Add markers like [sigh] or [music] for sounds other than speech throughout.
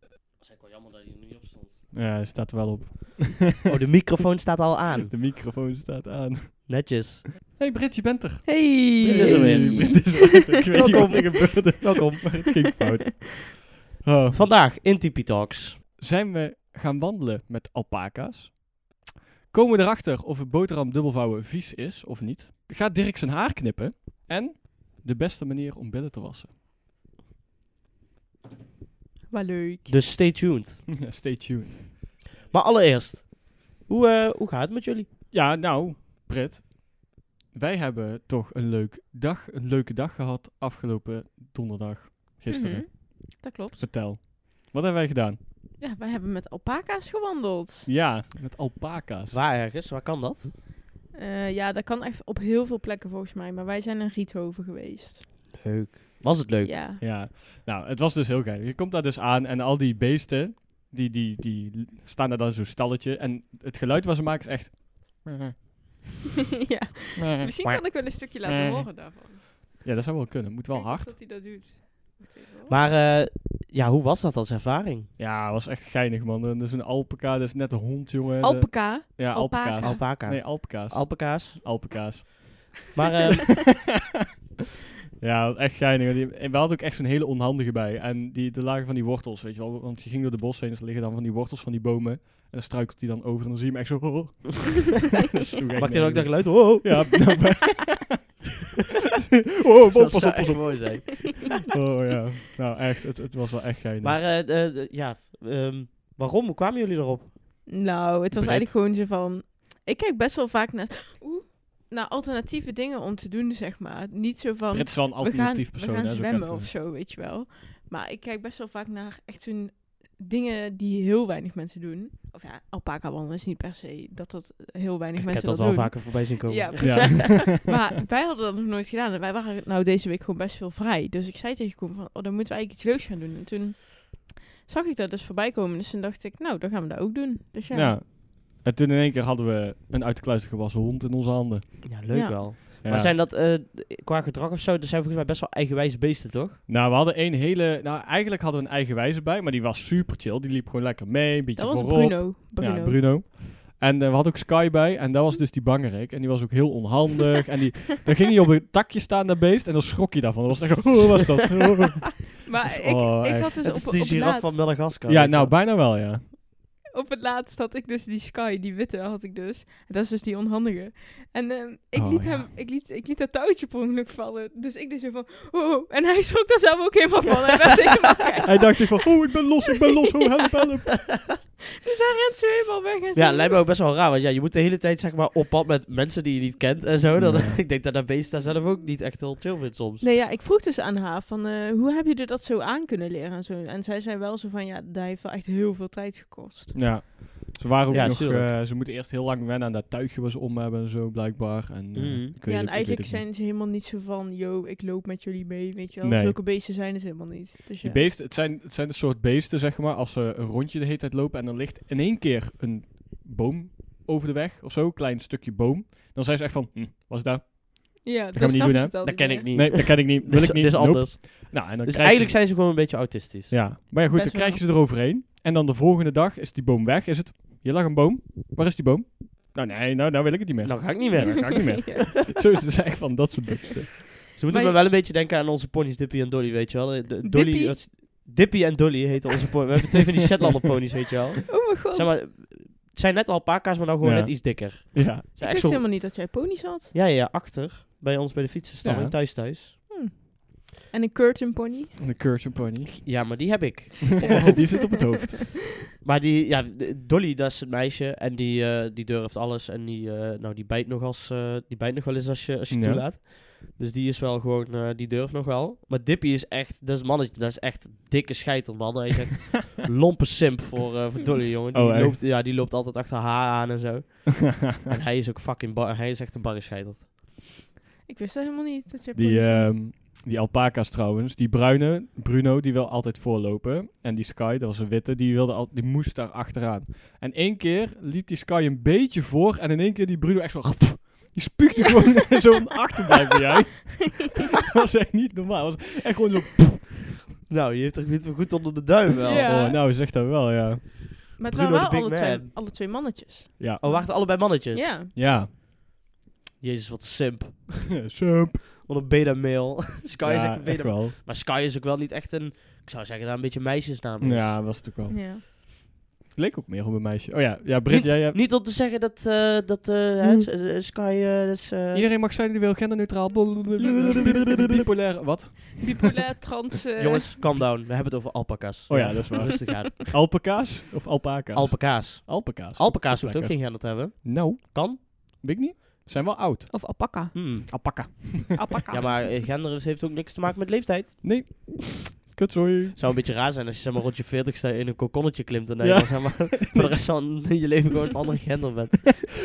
Dat is eigenlijk wel jammer dat hij er niet op stond. Ja, hij staat er wel [laughs] op. [laughs] [laughs] Oh, de microfoon staat al aan. De microfoon staat aan. Netjes. hey Brit, je bent er. Hey! Dit is hem weer. Brit is er weer. Ik weet niet Welkom. wat er gebeurde, Welkom. maar [laughs] het ging fout. Oh. Vandaag in Tipi Talks. Zijn we gaan wandelen met alpaca's? Komen we erachter of het boterham dubbelvouwen vies is of niet? Gaat Dirk zijn haar knippen? En de beste manier om billen te wassen. Wat leuk. Dus stay tuned. [laughs] Ja, Stay tuned. Maar allereerst, hoe, eh, hoe gaat het met jullie? Ja, nou, Brit. Wij hebben toch een, leuk dag, een leuke dag gehad afgelopen donderdag, gisteren. Mhm, Dat klopt. Vertel. Wat hebben wij gedaan? Ja, wij hebben met alpaca's gewandeld. Ja, met alpaca's. Waar ergens? Waar kan dat? Eh, ja, dat kan echt op heel veel plekken volgens mij. Maar wij zijn in Riethoven geweest. Leuk. Was het leuk? Ja. Ja, nou, het was dus heel geil. Je komt daar dus aan en al die beesten, die, die, die staan daar dan zo'n stalletje. En het geluid wat ze maken is echt... Mhm. [laughs] ja. Misschien kan ik wel een stukje laten Eh. horen daarvan. Ja, dat zou wel kunnen. Moet wel Kijk of hard. dat hij dat doet. Wacht even hoor. Maar eh, ja, hoe was dat als ervaring? Ja, was echt geinig, man. Dat is een alpaca, dat is net een hond, jongen. De- Alpaca. Ja, alpaca. alpaca's. Alpaca. Nee, alpaca's. [laughs] Alpaca's. alpaca's. Maar eh, ja, dat was echt geinig. want die- en we hadden ook echt zo'n hele onhandige bij. En die, de lagen van die wortels, weet je wel. Want je ging door de bos heen, dus er liggen dan van die wortels van die bomen. En dan struikelt die dan over en dan zie je hem echt zo... [laughs] Oh. dat is toch echt maakt hij dan ook dat geluid? nergens. Oh, [laughs] Ja, [laughs] nou, bij- dat oh, pas zou op, pas echt op. mooi zijn. Oh ja, nou echt, het, het was wel echt geinig. Maar eh, eh, eh, ja, ehm, waarom? Hoe kwamen jullie erop? Nou, het was Brit. eigenlijk gewoon zo van... Ik kijk best wel vaak naar, [gasps] oeh, naar alternatieve dingen om te doen, zeg maar. Niet zo van... Brit is wel een eh, we gaan, alternatief persoon. we gaan hè, zo zwemmen even- of zo, weet je wel. Maar ik kijk best wel vaak naar echt zo'n dingen die heel weinig mensen doen. Of ja, alpaca wandelen is niet per se dat dat heel weinig Ik heb mensen dat dat wel doen. vaker voorbij zien komen. Ja, Ja. [laughs] [laughs] maar wij hadden dat nog nooit gedaan. En wij waren nou deze week gewoon best veel vrij. Dus ik zei tegen Koen van, oh, dan moeten we eigenlijk iets leuks gaan doen. En toen zag ik dat dus voorbij komen. Dus toen dacht ik, nou, dan gaan we dat ook doen. Dus ja. ja. En toen in één keer hadden we een uit de kluister gewassen hond in onze handen. Ja, leuk Ja. wel. Ja. Maar zijn dat eh, qua gedrag of zo, dat zijn volgens mij best wel eigenwijze beesten, toch? Dus Nou, we hadden één hele... Nou, eigenlijk hadden we een eigen wijze bij, maar die was super chill. Die liep gewoon lekker mee, een beetje dat was voorop. Bruno. Bruno. Ja, Bruno. En eh, we hadden ook Sky bij, en dat was dus die bangerik. En die was ook heel onhandig. en [laughs] die, dan ging hij op een takje staan, dat beest, en dan schrok je daarvan. Dan was het echt zo, oh, wat was [laughs] dat? Oh. Maar ik, Oh, ik echt. had dus het op, is op, de het giraf laatst, van Madagaskar. Ja, weet je nou, wel. bijna wel, ja. op het laatst had ik dus die Sky, die witte had ik dus. Dat is dus die onhandige. En ehm, ik, Oh, liet ja. hem, ik, liet, ik liet dat touwtje per ongeluk vallen. Dus ik deed zo van, oh. En hij schrok daar zelf ook helemaal van. Hij werd [laughs] helemaal gek. Hij dacht echt van, oh, ik ben los, ik ben los, oh, help, help. Dus hij rent zo helemaal weg. En zo. Ja, lijkt me ook best wel raar, want ja, je moet de hele tijd zeg maar op pad met mensen die je niet kent en zo. Dan, Ja. [laughs] ik denk dat dat beest daar zelf ook niet echt heel chill vindt soms. Nee, ja, ik vroeg dus aan haar van, eh, hoe hebben jullie dat zo aan kunnen leren en zo. En zij zei wel zo van, ja, dat heeft wel echt heel veel tijd gekost. Ja. Ze waren ook Ja, nog, tuurlijk. eh, ze moeten eerst heel lang wennen aan dat tuigje wat ze om hebben en zo, blijkbaar. En, eh, Mhm. ik weet het- ik ja, en weet eigenlijk het niet. zijn ze helemaal niet zo van, yo, ik loop met jullie mee, weet je wel. Nee. Zulke beesten zijn het helemaal niet. Dus ja. Die beesten, het zijn, het zijn een soort beesten, zeg maar, als ze een rondje de hele tijd lopen en dan ligt in één keer een boom over de weg of zo, een klein stukje boom. Dan zijn ze echt van, hm, was dat? ja, gaan we niet snappen doen, ze hè? dan Dat niet ken meer. ik niet. Nee, dat ken ik niet, Dit wil is- ik niet. Dit is nope. anders. Nou, en dan Dus krijg je- eigenlijk zijn ze gewoon een beetje autistisch. Ja, maar ja, goed, Best dan krijg je wel. ze eroverheen. En dan de volgende dag is die boom weg. Is het, hier lag een boom. Waar is die boom? Nou nee, nou, nou wil ik het niet meer. Nou ga ik niet meer. Ja, dat ga ik [laughs] niet [laughs] meer. Ja. Zo is het echt van dat soort beesten. Ze moeten Maar me wel een beetje denken aan onze ponies Dippy en Dolly, weet je wel. Eh, De- de- Dolly, Dippy? dat is- Dippy en Dolly heten onze ponies. We hebben twee van die Shetlander ponies, weet je [laughs] wel. Oh mijn god. Zeg maar, het zijn net alpaca's, maar nou gewoon Ja. net iets dikker. Ze Ja, zijn ik echt wist zo- helemaal niet dat jij ponies had. Ja, ja, achter. Bij ons bij de fietsenstalling, Ja. thuis thuis. En een curtain pony. een curtain pony. [laughs] Ja, maar die heb ik. [laughs] die zit op het hoofd. [laughs] Maar die, ja, de- Dolly, dat is het meisje. En die, eh, die durft alles. En die, eh, nou, die bijt nog als, eh, die bijt nog wel eens als je, als je het Ja. toelaat. Dus die is wel gewoon, eh, die durft nog wel. Maar Dippy is echt, dat is een mannetje, dat is echt dikke scheiter, man. Hij [laughs] is echt lompe simp voor, eh, voor Dolly, jongen. Die, Oh, echt? loopt, ja, die loopt altijd achter haar aan en [laughs] zo. en hij is ook fucking, bar, hij is echt een barre scheiter. Ik wist dat helemaal niet dat jij ponies Die, had. ehm, die alpaca's trouwens, die bruine, Bruno, die wil altijd voorlopen. En die Sky, dat was een witte, die, wilde al, die moest daar achteraan. En één keer liep die Sky een beetje voor en in één keer die Bruno echt zo... [laughs] Die [laughs] spuugde ehm, [laughs] [laughs] [laughs] gewoon zo'n achterblijf bij jij. dat was echt niet normaal. Dat was echt gewoon zo... Nou, je heeft toch weer goed onder de duim wel. Ja. Oh, nou, zegt dat wel, ja. [laughs] Maar het Bruno de waren wel Big alle twee, Man. alle twee mannetjes. Ja. Oh, wacht, allebei mannetjes. Ja. Ja. Jezus, wat een simp. [laughs] Sup. Wat een beta-mail. [laughs] Sky Ja, is echt een echt beta wel. Maar Sky is ook wel niet echt een... Ik zou zeggen, daar een beetje meisjesnaam is. Ja, was het ook Oh. wel. [laughs] ja. Het leek ook meer op een meisje. Oh ja, ja Britt, jij... jij- Niet om te zeggen dat, eh, dat eh, hè, Hmm. s- eh, Sky... eh, dat is, eh, Iedereen mag zijn die wil, genderneutraal, bipolair, wat? Bipolair, trans... eh, Jongens, calm down. We hebben het over alpaca's. Oh ja, dat is waar. Rustig [laughs] aan. Alpaca's of alpaca's? Alpaca's. alpaca's. Alpaca's hoeft ook Lekker. geen gender te hebben. Nou, Kan. weet ik niet. Zijn wel oud. Of alpaca. Hmm. Alpaca. alpaca. Ja, maar eh, gender is- heeft ook niks te maken met leeftijd. Nee. [laughs] Kutzooi. Zou een beetje raar zijn als je zeg maar rond je 40ste in een kokonnetje klimt. En dat Ja. je dan, zeg maar, [laughs] voor de rest van je leven gewoon het andere gender bent.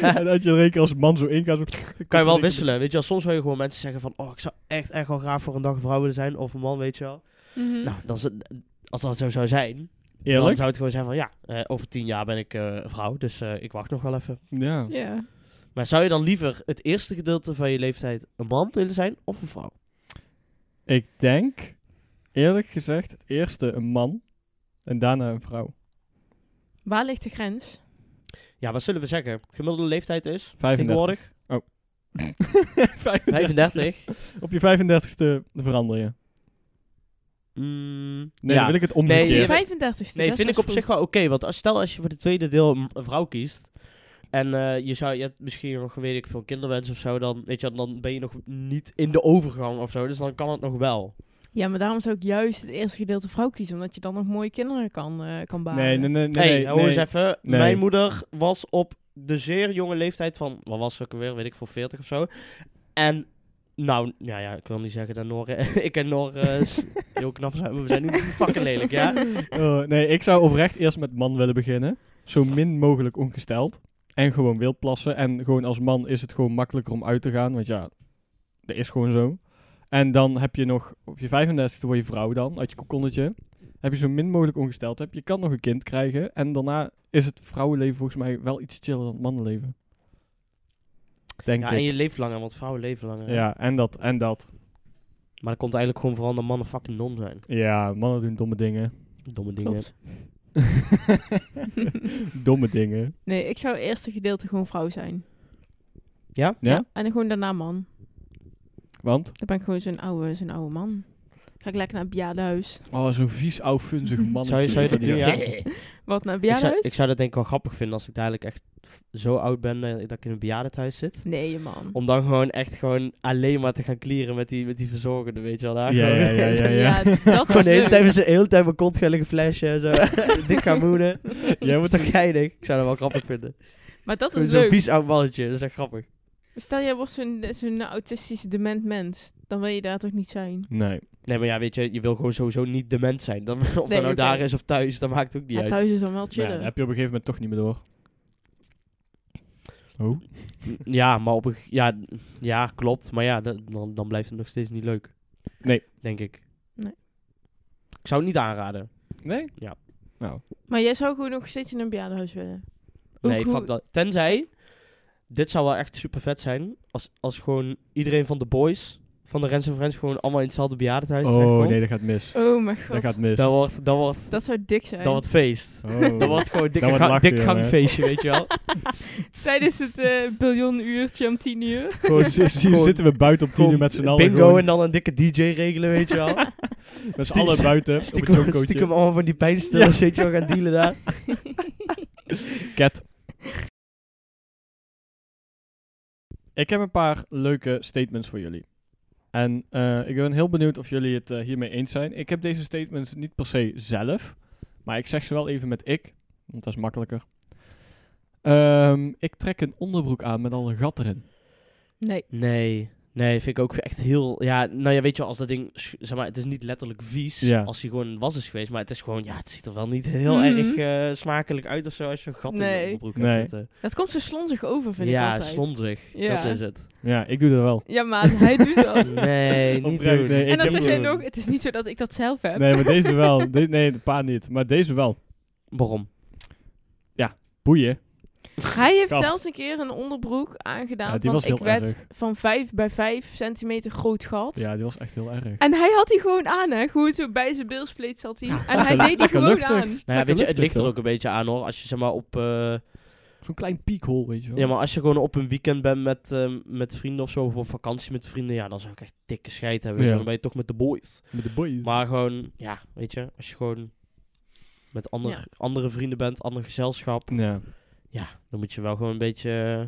en dat je er een keer als man zo in gaat. Zo Kan je wel wisselen. Weet je wel, soms wil je gewoon mensen zeggen van... Oh, ik zou echt, echt wel graag voor een dag een vrouw willen zijn. Of een man, weet je wel. Mhm. Nou, dan, z- als dat zo zou zijn... Dan Eerlijk? zou het gewoon zijn van... Ja, eh, over tien jaar ben ik eh, vrouw. Dus eh, ik wacht nog wel even. Ja. Ja. Maar zou je dan liever het eerste gedeelte van je leeftijd een man willen zijn of een vrouw? Ik denk, eerlijk gezegd, het eerste een man en daarna een vrouw. Waar ligt de grens? Ja, wat zullen we zeggen? Gemiddelde leeftijd is [laughs] 35. tegenwoordig Oh. [laughs] 35. 35. Op je 35ste verander je. [laughs] Mm, ja. Nee, dan wil ik het Nee, omgekeerd. je- Je 35ste. nee vind ik op zich wel oké. want als, stel als je voor het tweede deel een een vrouw kiest. En eh, je, zou, je hebt misschien nog, weet ik veel, kinderwens of zo. Dan, weet je, wel, dan ben je nog niet in de overgang of zo. Dus dan kan het nog wel. Ja, maar daarom zou ik juist het eerste gedeelte vrouw kiezen. Omdat je dan nog mooie kinderen kan, eh, kan baren. nee, nee, nee. nee, hey, nee, hou eens even. Nee. Mijn moeder was op de zeer jonge leeftijd van, wat was ze ook weer, weet ik voor 40 of zo. En, nou, ja, ja ik wil niet zeggen dat Noor, [laughs] ik en Noor eh, [laughs] s- heel knap zijn, maar we [laughs] zijn nu fucking lelijk, ja. Oh, nee, ik zou oprecht eerst met man willen beginnen. Zo min mogelijk ongesteld. En gewoon wild plassen. En gewoon als man is het gewoon makkelijker om uit te gaan. Want ja, dat is gewoon zo. En dan heb je nog, op je 35e word je vrouw dan, uit je kokonnetje. Heb je zo min mogelijk ongesteld. Heb je kan nog een kind krijgen. En daarna is het vrouwenleven volgens mij wel iets chiller dan het mannenleven. Denk ja. ik. En je leeft langer, want vrouwen leven langer. hè. Ja, en dat, en dat. Maar dat komt eigenlijk gewoon vooral dat mannen fucking dom zijn. Ja, mannen doen domme [laughs] dingen. [laughs] Domme dingen. Klopt. domme dingen. Nee, ik zou het eerste gedeelte gewoon vrouw zijn. Ja? Ja? En dan gewoon daarna man. Want? Dan ben ik gewoon zo'n oude, zo'n oude man. Ga ik lekker naar het bejaardenhuis. Oh, zo'n vies, oudvunzig mannetje. Zou je, zou je dat doen, ja? [laughs] Ik Wat, naar het zou, bejaardenhuis? ik zou dat denk ik wel grappig vinden als ik dadelijk echt f- zo oud ben eh, dat ik in een bejaardentehuis zit. Nee, man. Om dan gewoon echt gewoon alleen maar te gaan clearen met die, met die verzorgende, weet je wel. Daar Ja, gewoon- ja, [laughs] ja, ja, ja. dat Gewoon is de hele leuk. tijd, met z'n- de hele tijd mijn kont gaan liggen flashen en zo. [laughs] [laughs] Dik gaan moenen. Jij Wat wordt toch geinig? Ik zou dat wel grappig vinden. Maar dat Zo'n is leuk. vies oud mannetje, dat is echt grappig. Stel, jij wordt zo'n zo'n autistisch dement mens. Dan wil je daar toch niet zijn? [laughs] Nee. Nee, maar ja, weet je, je wil gewoon sowieso niet dement zijn. Dan, of Nee, dat nou oké. daar is of thuis, dat maakt ook niet Ja, uit. thuis is dan wel Ja, chillen. dat heb je op een gegeven moment toch niet meer door. Oh? Ja, maar op een, ge- ja, ja, klopt. Maar ja, dat- dan, dan blijft het nog steeds niet leuk. Nee. Denk ik. Nee. Ik zou het niet aanraden. Nee? Ja. Nou. Maar jij zou gewoon nog steeds in een bejaardenhuis willen. Ook Nee, hoe- fuck dat. Tenzij, dit zou wel echt super vet zijn. Als, als gewoon iedereen van de boys, van de Rens en Friends, gewoon allemaal in hetzelfde bejaardenhuis Oh, terechtkomt. nee, dat gaat mis. Oh mijn god. Dat Dat, gaat mis. Dat wordt, dat wordt, zou dik zijn. dat wordt feest. Oh. Dat wordt gewoon een dikke Dat wordt ga- lachen, dik jongen. gangfeestje, weet je [laughs] wel. Tijdens [laughs] het eh biljoenuurtje om tien uur. Gewoon [laughs] zi- zi- Gewoon- zitten we buiten op tien uur Gewoon met z'n allen. Bingo gewoon en dan een dikke DJ regelen, weet je [laughs] wel. Met z'n stie- allen buiten. op een Stiekem, jokootje. stiekem allemaal van die pijnstillers, weet je wel, gaan dealen daar. Cat. Ik heb een paar leuke statements voor jullie. En eh, ik ben heel benieuwd of jullie het eh, hiermee eens zijn. Ik heb deze statements niet per se zelf, maar ik zeg ze wel even met ik, want dat is makkelijker. Ehm, ik trek een onderbroek aan met al een gat erin. Nee. [laughs] Nee, nee, vind ik ook echt heel... Ja, nou ja, weet je wel, als dat ding... sch- Zeg maar, het is niet letterlijk vies Ja. als hij gewoon was is geweest. Maar het is gewoon... Ja, het ziet er wel niet heel Mhm. erg eh, smakelijk uit of zo als je een gat in Nee. je onderbroek Nee. hebt zitten. Dat komt zo slonzig over, vind ik ja, altijd. slonzig. Ja. Dat is het. Ja, ik doe dat wel. Ja, maar hij doet [laughs] dat. Nee, niet Oprecht, doen. [laughs] nee, ik en dan heb zeg hem jij gewoon. nog, het is niet zo dat ik dat zelf heb. Nee, maar deze [laughs] Nou wel. De- nee, de paar niet. Maar deze wel. Waarom? Boeien. Hij heeft Kast. zelfs een keer een onderbroek aangedaan Ja, die van was heel ik werd erg. van 5 bij 5 centimeter groot gat. Ja, die was echt heel erg. En hij had die gewoon aan, hè. Gewoon zo bij zijn bilspleet zat hij. En [laughs] hij deed die Lekker gewoon luchtig. aan. Nou ja, weet je, het ligt er toch? ook een beetje aan hoor. Als je zeg maar op... eh, Zo'n klein piekhol, weet je wel. Ja, maar als je gewoon op een weekend bent met, ehm, met vrienden of zo, of op vakantie met vrienden, ja, dan zou ik echt dikke scheid hebben. weet je Ja. wel. Dan ben je toch met de boys. Met de boys. Maar gewoon, ja, weet je, als je gewoon met ander, Ja. andere vrienden bent, ander gezelschap, Ja. ja, dan moet je wel gewoon een beetje... eh,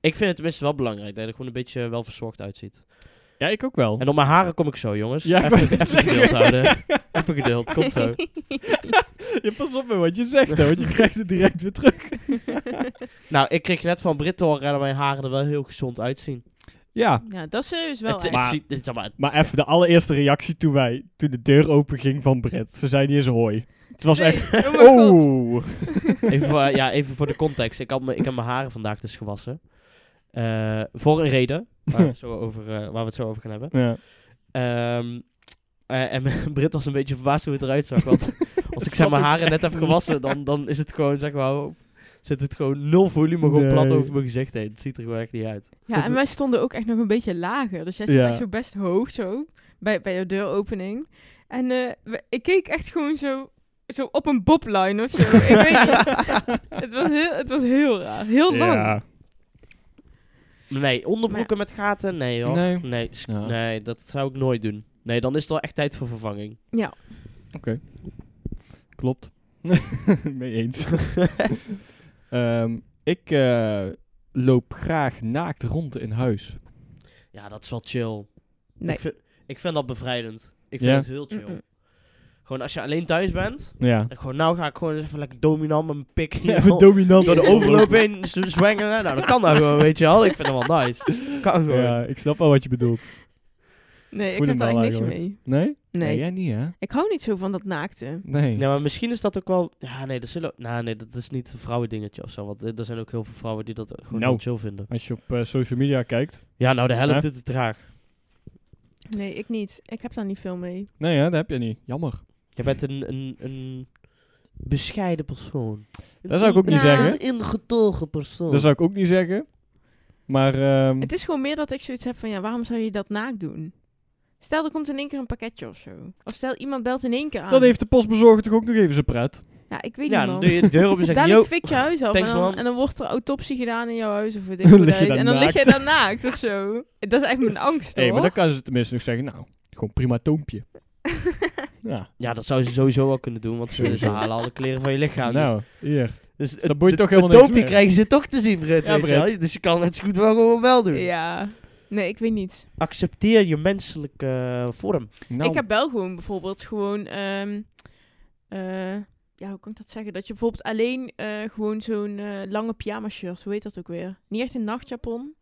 Ik vind het tenminste wel belangrijk, dat je er gewoon een beetje wel verzorgd uitziet. ja, ik ook wel. En op mijn haren kom ik zo, jongens. Ja, ik [laughs] even, wou net even geduld zeggen. houden. [laughs] Even geduld, komt [laughs] zo. Je pas op met wat je zegt, hè, want je krijgt het direct weer terug. Nou, ik kreeg net van Brit te horen dat mijn haren er wel heel gezond uitzien. Ja, Ja, dat is serieus wel Het, echt. het, Maar- ziet- het- zeg maar, maar even de allereerste reactie toen, wij, toen de deur open ging van Brett. Ze zei niet eens hoi. Het was echt... Nee, oh mijn god. Oh! Even, voor, ja, even voor de context. Ik, had me, ik heb mijn haren vandaag dus gewassen. Eh, voor een reden. Waar we, het zo over, eh, waar we het zo over gaan hebben. Ja. Ehm, eh, en [laughs] Britt was een beetje verbaasd hoe het eruit zag. Want als ik zeg zat mijn ook haren net echt heb gewassen, dan, dan is het gewoon, zeg maar... Zit het gewoon nul volume, gewoon Nee. plat over mijn gezicht heen. Het ziet er gewoon echt niet uit. Ja, en wij stonden ook echt nog een beetje lager. Dus jij stond Ja. echt zo best hoog zo, bij, bij jouw deuropening. En eh, we- ik keek echt gewoon zo, zo op een bobline of zo. ik weet niet. [laughs] Het was, heel, het was heel raar. Heel lang. Ja. Nee, onderbroeken met gaten? Nee hoor. Nee. Nee, s- Ja. nee, dat zou ik nooit doen. Nee, dan is het wel echt tijd voor vervanging. Ja. Klopt. [laughs] Mee eens. Ehm, ik eh, loop graag naakt rond in huis. Ja, dat is wel chill. Nee. Ik, vind, ik vind dat bevrijdend. Ik vind Ja? het heel chill. Mm-mm. Gewoon als je alleen thuis bent. Ja. En gewoon, nou ga ik gewoon eens even lekker dominant met mijn [laughs] pik hier Even dominant. [laughs] door de overloop heen z- zwengelen. Nou, dat kan dat gewoon, weet je wel. Ik vind dat wel nice. Kan gewoon. Ja, ik snap wel wat je bedoelt. Nee, ik Voel heb hem daar wel eigenlijk niks eigenlijk. mee. Nee? Nee. jij niet, hè? Ik hou niet zo van dat naakte. Nee. Ja, maar misschien is dat ook wel... Ja, nee, dat, zullen, nou, nee, dat is niet een vrouwendingetje of zo. Want eh, er zijn ook heel veel vrouwen die dat gewoon Nou. heel chill vinden. Als je op eh, social media kijkt. Ja, nou, de helft Hè? doet het traag. Nee, ik niet. Ik heb daar niet veel mee. Nee, hè, dat heb je niet. Jammer. Je bent een, een, een bescheiden persoon. Dat zou ik ook niet Ja. zeggen. Een ingetogen persoon. Dat zou ik ook niet zeggen. Maar ehm, Het is gewoon meer dat ik zoiets heb van, ja, waarom zou je dat naakt doen? Stel, er komt in één keer een pakketje of zo. Of stel, iemand belt in één keer aan. dat heeft de postbezorger toch ook nog even zijn pret. Ja, ik weet ja, niet, dan man. doe je de deur op en zeg je... Dadelijk "Yo, fik je huis af en thanks, dan, man." en dan wordt er autopsie gedaan in jouw huis of weet [laughs] ik Dan hoe lig dat je heet. daar En dan lig je naakt. daar naakt of zo. Dat is echt mijn angst, Nee, hoor. maar [laughs] dan kan ze tenminste nog zeggen, nou, gewoon prima toompje. ja. Ja, dat zou ze sowieso wel kunnen doen, want ze, [laughs] ze halen alle kleren van je lichaam. dus- nou, hier. dus het- dan moet je toch helemaal het niks dopje meer. krijgen ze toch te zien, Britt. Ja, weet je Britt. wel. Dus je kan het zo goed wel gewoon wel doen. Ja. Nee, ik weet niet. Accepteer je menselijke eh, vorm. Nou, Ik heb wel gewoon bijvoorbeeld gewoon... ehm, eh, ja, hoe kan ik dat zeggen? Dat je bijvoorbeeld alleen eh, gewoon zo'n eh, lange pyjama shirt... Hoe heet dat ook weer? Niet echt een nachtjapon.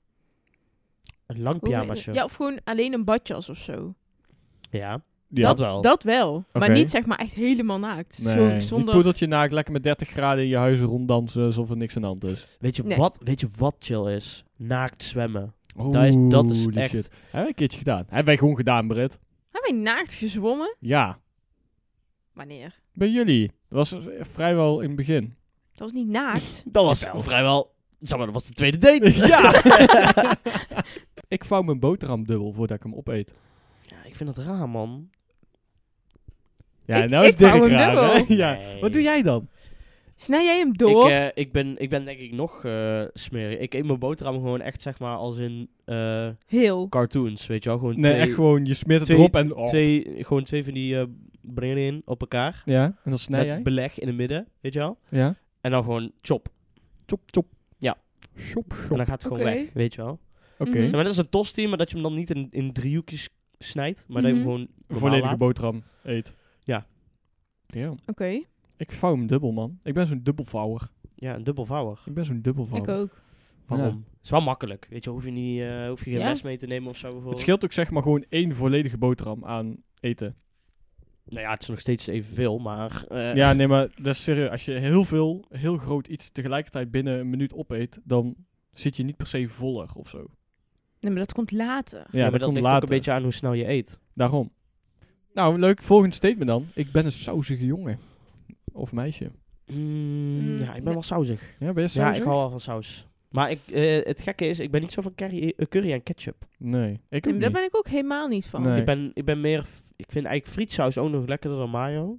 Een lang Hoe heet- pyjama shirt. Ja, Ja, of gewoon alleen een badjas of zo. ja. dat wel. Dat wel. Maar Oké. niet zeg maar echt helemaal naakt. Nee, Zo niet zonder... poedeltje naakt, lekker met 30 graden in je huis ronddansen alsof er niks aan de hand is. Weet, je Nee. wat, weet je wat chill is? Naakt zwemmen. Dat is- dat is Holy echt- Hebben wij een keertje gedaan. Hebben wij gewoon gedaan, Britt. Hebben wij naakt gezwommen? Ja, Wanneer? bij jullie. Dat was eh, vrijwel in het begin. Dat was niet naakt. Dat was Jawel. vrijwel... Zeg maar, dat was de tweede date. [laughs] Ja! [laughs] ik vouw mijn boterham dubbel voordat ik hem opeet. Ja, ik vind dat raar, man. Ja, Ik- nou is ik vouw Dirk hem raar, hè? [laughs] dubbel. Ja. Nee. Wat doe jij dan? Snij jij hem Ik, door? eh, ik, ben, ik ben denk ik nog eh smerig. Ik eet mijn boterham gewoon echt, zeg maar, als in eh, Heel. cartoons, weet je wel. Gewoon Nee, twee, echt gewoon, je smeert het twee- erop en... oh. twee, gewoon twee van die eh brillen in op elkaar. Ja, en dan snij met jij? beleg in het midden, weet je wel. Ja. En dan gewoon chop. Chop, chop. Ja. Chop, chop. En dan Oké. gaat het gewoon Oké. weg, weet je wel. Mhm. Hm? Zeg maar, dat is een tosti, maar dat je hem dan niet in, in driehoekjes snijdt, maar dat je hem Mhm. gewoon Een normaal volledige laat. boterham eet. Ja. Damn. Oké, Ik vouw hem dubbel, man. Ik ben zo'n dubbelvouwer. Ja, een dubbelvouwer. Ik ben zo'n ik dubbelvouwer. ook. Waarom? is wel makkelijk, weet je, hoef je, niet, eh, hoef je geen Ja. les mee te nemen of zo bijvoorbeeld. Het scheelt ook zeg maar gewoon één volledige boterham aan eten. Nou ja, het is nog steeds evenveel, maar... [laughs] eh, Ja, nee, maar dat is serieus. Als je heel veel, heel groot iets tegelijkertijd binnen een minuut opeet, dan zit je niet per se voller of zo. Ja, Nee, maar dat komt later. ja, maar dat, dat komt ligt later. ook een beetje aan hoe snel je eet. Daarom. Nou, leuk. Volgend statement dan. Ik ben een sausige jongen. Of meisje. Mm, ja, ik ben wel sausig. Ja, ben je Ja, sausig? ik hou wel van saus. Maar ik, eh, het gekke is, ik ben niet zo van curry, eh, curry en ketchup. Nee, ik ook Nee, maar Daar niet. ben ik ook helemaal niet van. Nee. Ik, ben, ik ben meer... f- Ik vind eigenlijk frietsaus ook nog lekkerder dan mayo.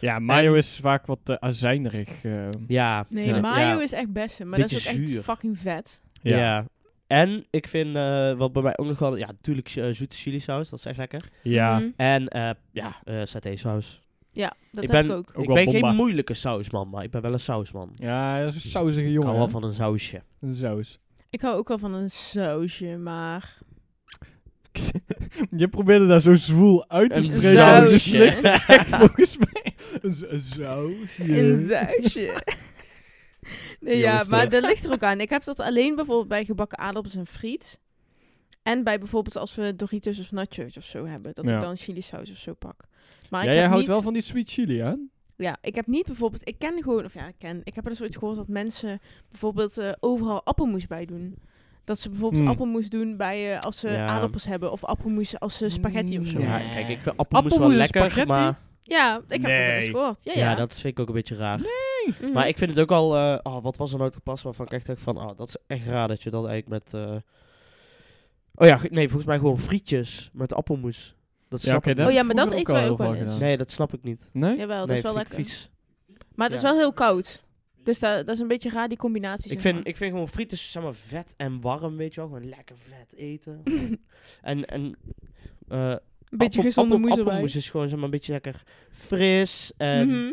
Ja, mayo is vaak wat eh, azijnerig. eh. Ja. Nee, Ja. mayo Ja. is echt beste, maar dat is ook Beetje echt zuur. fucking vet. Ja. En ik vind, eh, wat bij mij ook nog wel... Ja, natuurlijk eh, zoete chili saus, dat is echt lekker. Ja. Mhm. En eh, ja, eh saté saus. Ja, dat Ik heb ben- ik ook. Ook Ik wel ben bomba. geen moeilijke sausman, maar ik ben wel een sausman. Ja, dat is een sausige Ik jongen. hou wel hè? van een sausje. Een saus. [laughs] Ik hou ook wel van een sausje, maar... Je probeerde daar zo zwoel uit te Een spreken. sausje. Je slikte echt [laughs] volgens mij. Een, s- een sausje. Een [laughs] sausje. nee, ja, Jongens, maar eh. dat ligt er ook aan. Ik heb dat alleen bijvoorbeeld bij gebakken aardappels en friet. En bij bijvoorbeeld als we Doritos of nachos of zo hebben. Dat Ja. ik dan chili saus of zo pak. Maar Ja, ik jij heb houdt niet, wel van die sweet chili, hè? Ja, ik heb niet bijvoorbeeld... Ik ken gewoon... Of ja, ik ken... Ik heb er dus ooit gehoord dat mensen bijvoorbeeld eh, overal appelmoes bij doen. Dat ze bijvoorbeeld Hmm. appelmoes doen bij, eh, als ze Ja. aardappels hebben. Of appelmoes als ze spaghetti of zo. Nee. Ja, hebben. kijk, ik vind appelmoes wel Appelmoes en lekker, spaghetti? maar... Ja, ik heb dat wel eens Nee. gehoord. Ja, Ja, ja. dat vind ik ook een beetje raar. Mhm. Maar ik vind het ook al... eh, oh, wat was er nou te pas waarvan ik echt dacht van... Oh, dat is echt raar dat je dat eigenlijk met... eh, Oh ja, ge- nee, volgens mij gewoon frietjes met appelmoes. Dat Ja, snap oké, ik dat niet. Oh ja, heb maar ik dat vroeger eten wij ook heel wel veel eens. gedaan. Nee, dat snap ik niet. Nee? Jawel, Oh, dat nee, is wel vind ik lekker. vies. Maar het Ja. is wel heel koud. Dus da- dat is een beetje raar, die combinatie. Ik zeg vind, maar. ik vind gewoon frietjes zeg maar, vet en warm, weet je wel. Gewoon lekker vet [laughs] eten. Gewoon- en en eh, een beetje appel- gezonde appel- moes erbij. appelmoes is eh, gewoon zeg maar, een beetje lekker fris. En Mhm.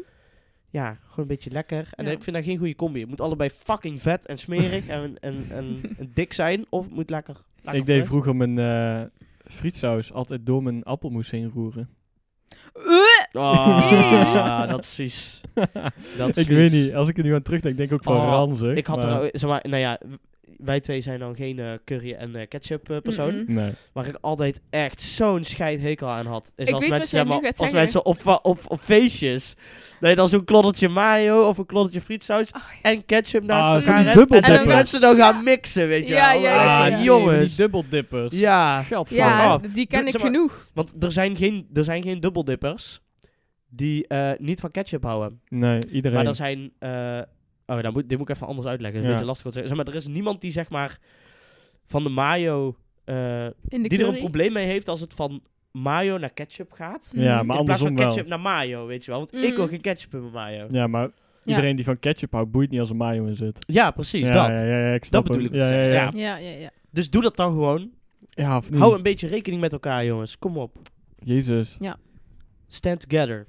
ja, gewoon een beetje lekker. En Ja. ik vind daar geen goede combi. Het moet allebei fucking vet en smerig en, en, en, [laughs] en dik zijn. Of het moet lekker, lekker Ik deed fris. vroeger mijn eh, frietsaus altijd door mijn appelmoes heen roeren. [laughs] Ueh! Ah, [laughs] dat is vies. Dat is ik vies. weet niet, als ik er nu aan terugdenk, denk ik ook van Oh, ranzig. Ik had maar- er, zeg maar, nou ja, w- wij twee zijn dan geen eh, curry en eh, ketchup eh, persoon. Mhm. Nee. Waar ik altijd echt zo'n scheidhekel aan had. Is Ik als weet wat mensen, zeg jij maar, nu gaat als zeggen. mensen op, va- op, op feestjes. Dat je dan zo'n kloddertje mayo of een kloddertje frietsaus Oh, en ketchup Ah, naast van elkaar die hebt. En dan dubbeldippers. mensen dan gaan mixen, weet je Ja, wel. ja, ja, Ah, ja. Jongens. dubbeldippers. Ja, Ja, af. die ken Doe- ik zeg maar- genoeg. want er zijn geen, er zijn geen dubbeldippers die eh, niet van ketchup houden. Nee, iedereen. Maar er zijn. eh, oh, dan moet, dit moet ik even anders uitleggen. Dat is Ja. een beetje lastig. om te zeggen. Zeg maar, er is niemand die zeg maar van de mayo. eh, In die de er een curry. probleem mee heeft als het van mayo naar ketchup gaat. Ja, Mhm. maar in plaats van andersom wel. ketchup naar mayo, weet je wel. Want ik Mhm. wil geen ketchup in mijn mayo. Ja, Ja, maar iedereen die van ketchup houdt, boeit niet als er mayo in zit. precies. ja, dat. Ja, ja, ja, ik snap bedoel hem. ik te Ja, ja, zeggen, ja. ja. dus, Ja, ja, ja. Dus doe dat dan gewoon. Ja, of niet? Hou een beetje rekening met elkaar, jongens. Kom op. Jezus. Stand together.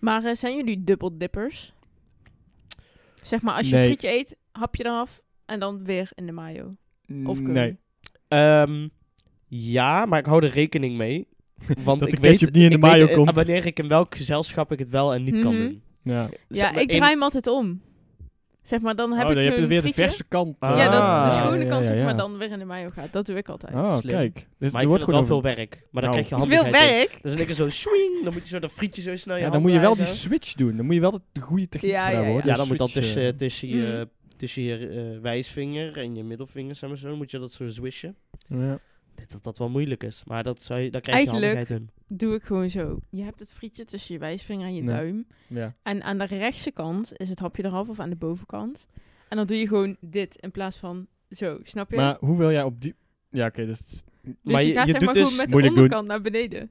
Maar eh, zijn jullie dubbeldippers? Zeg maar, als je Nee. frietje eet, hap je dan af en dan weer in de mayo. Of curry. Nee. Ehm, ja, maar ik hou er rekening [laughs] mee. Want Dat ik de weet, ketchup niet in de ik weet, mayo eh, komt. Dus Wanneer ik in welk gezelschap ik het wel en niet kan Mhm. doen. Ja. Ja, Zeg maar ik één- draai hem altijd om. Zeg maar, dan heb oh, ik dan heb je zo'n weer de frietje. verse kant. eh. Ja, Ja, dat, de Ah, schone ja, kant, zeg maar, dan weer in de mayo gaat. Dat doe ik altijd. Oh, Slim. kijk. Dus Maar er ik wordt vind het wel gewoon veel over- werk. Maar dan Nou. krijg je Veel handigheid. in. werk! Dus dan is zo swing, dan moet je zo dat frietje zo snel in je Ja, dan hand moet je wel die krijgen. switch doen. Dan moet je wel de goede techniek Ja, voor ja, hebben, hoor. ja. Ja, Die dan moet dat Oh, switch, tussen, eh, tussen, Mm. je, tussen je eh, wijsvinger en je middelvinger, zeg maar zo, dan moet je dat zo swishen. eh, ja. Ik denk dat dat wel moeilijk is, maar dat zou je, daar krijg je Eigenlijk- handigheid in. doe ik gewoon zo. Je hebt het frietje tussen je wijsvinger en je Nee. duim. Ja. En aan de rechtse kant is het hapje eraf of aan de bovenkant. En dan doe je gewoon dit in plaats van zo, snap je? Maar hoe wil jij op die... Ja, oké, dus... het is- dus maar je, je- gaat je zeg doet maar gewoon dus- met de moeilijk doen. onderkant naar beneden.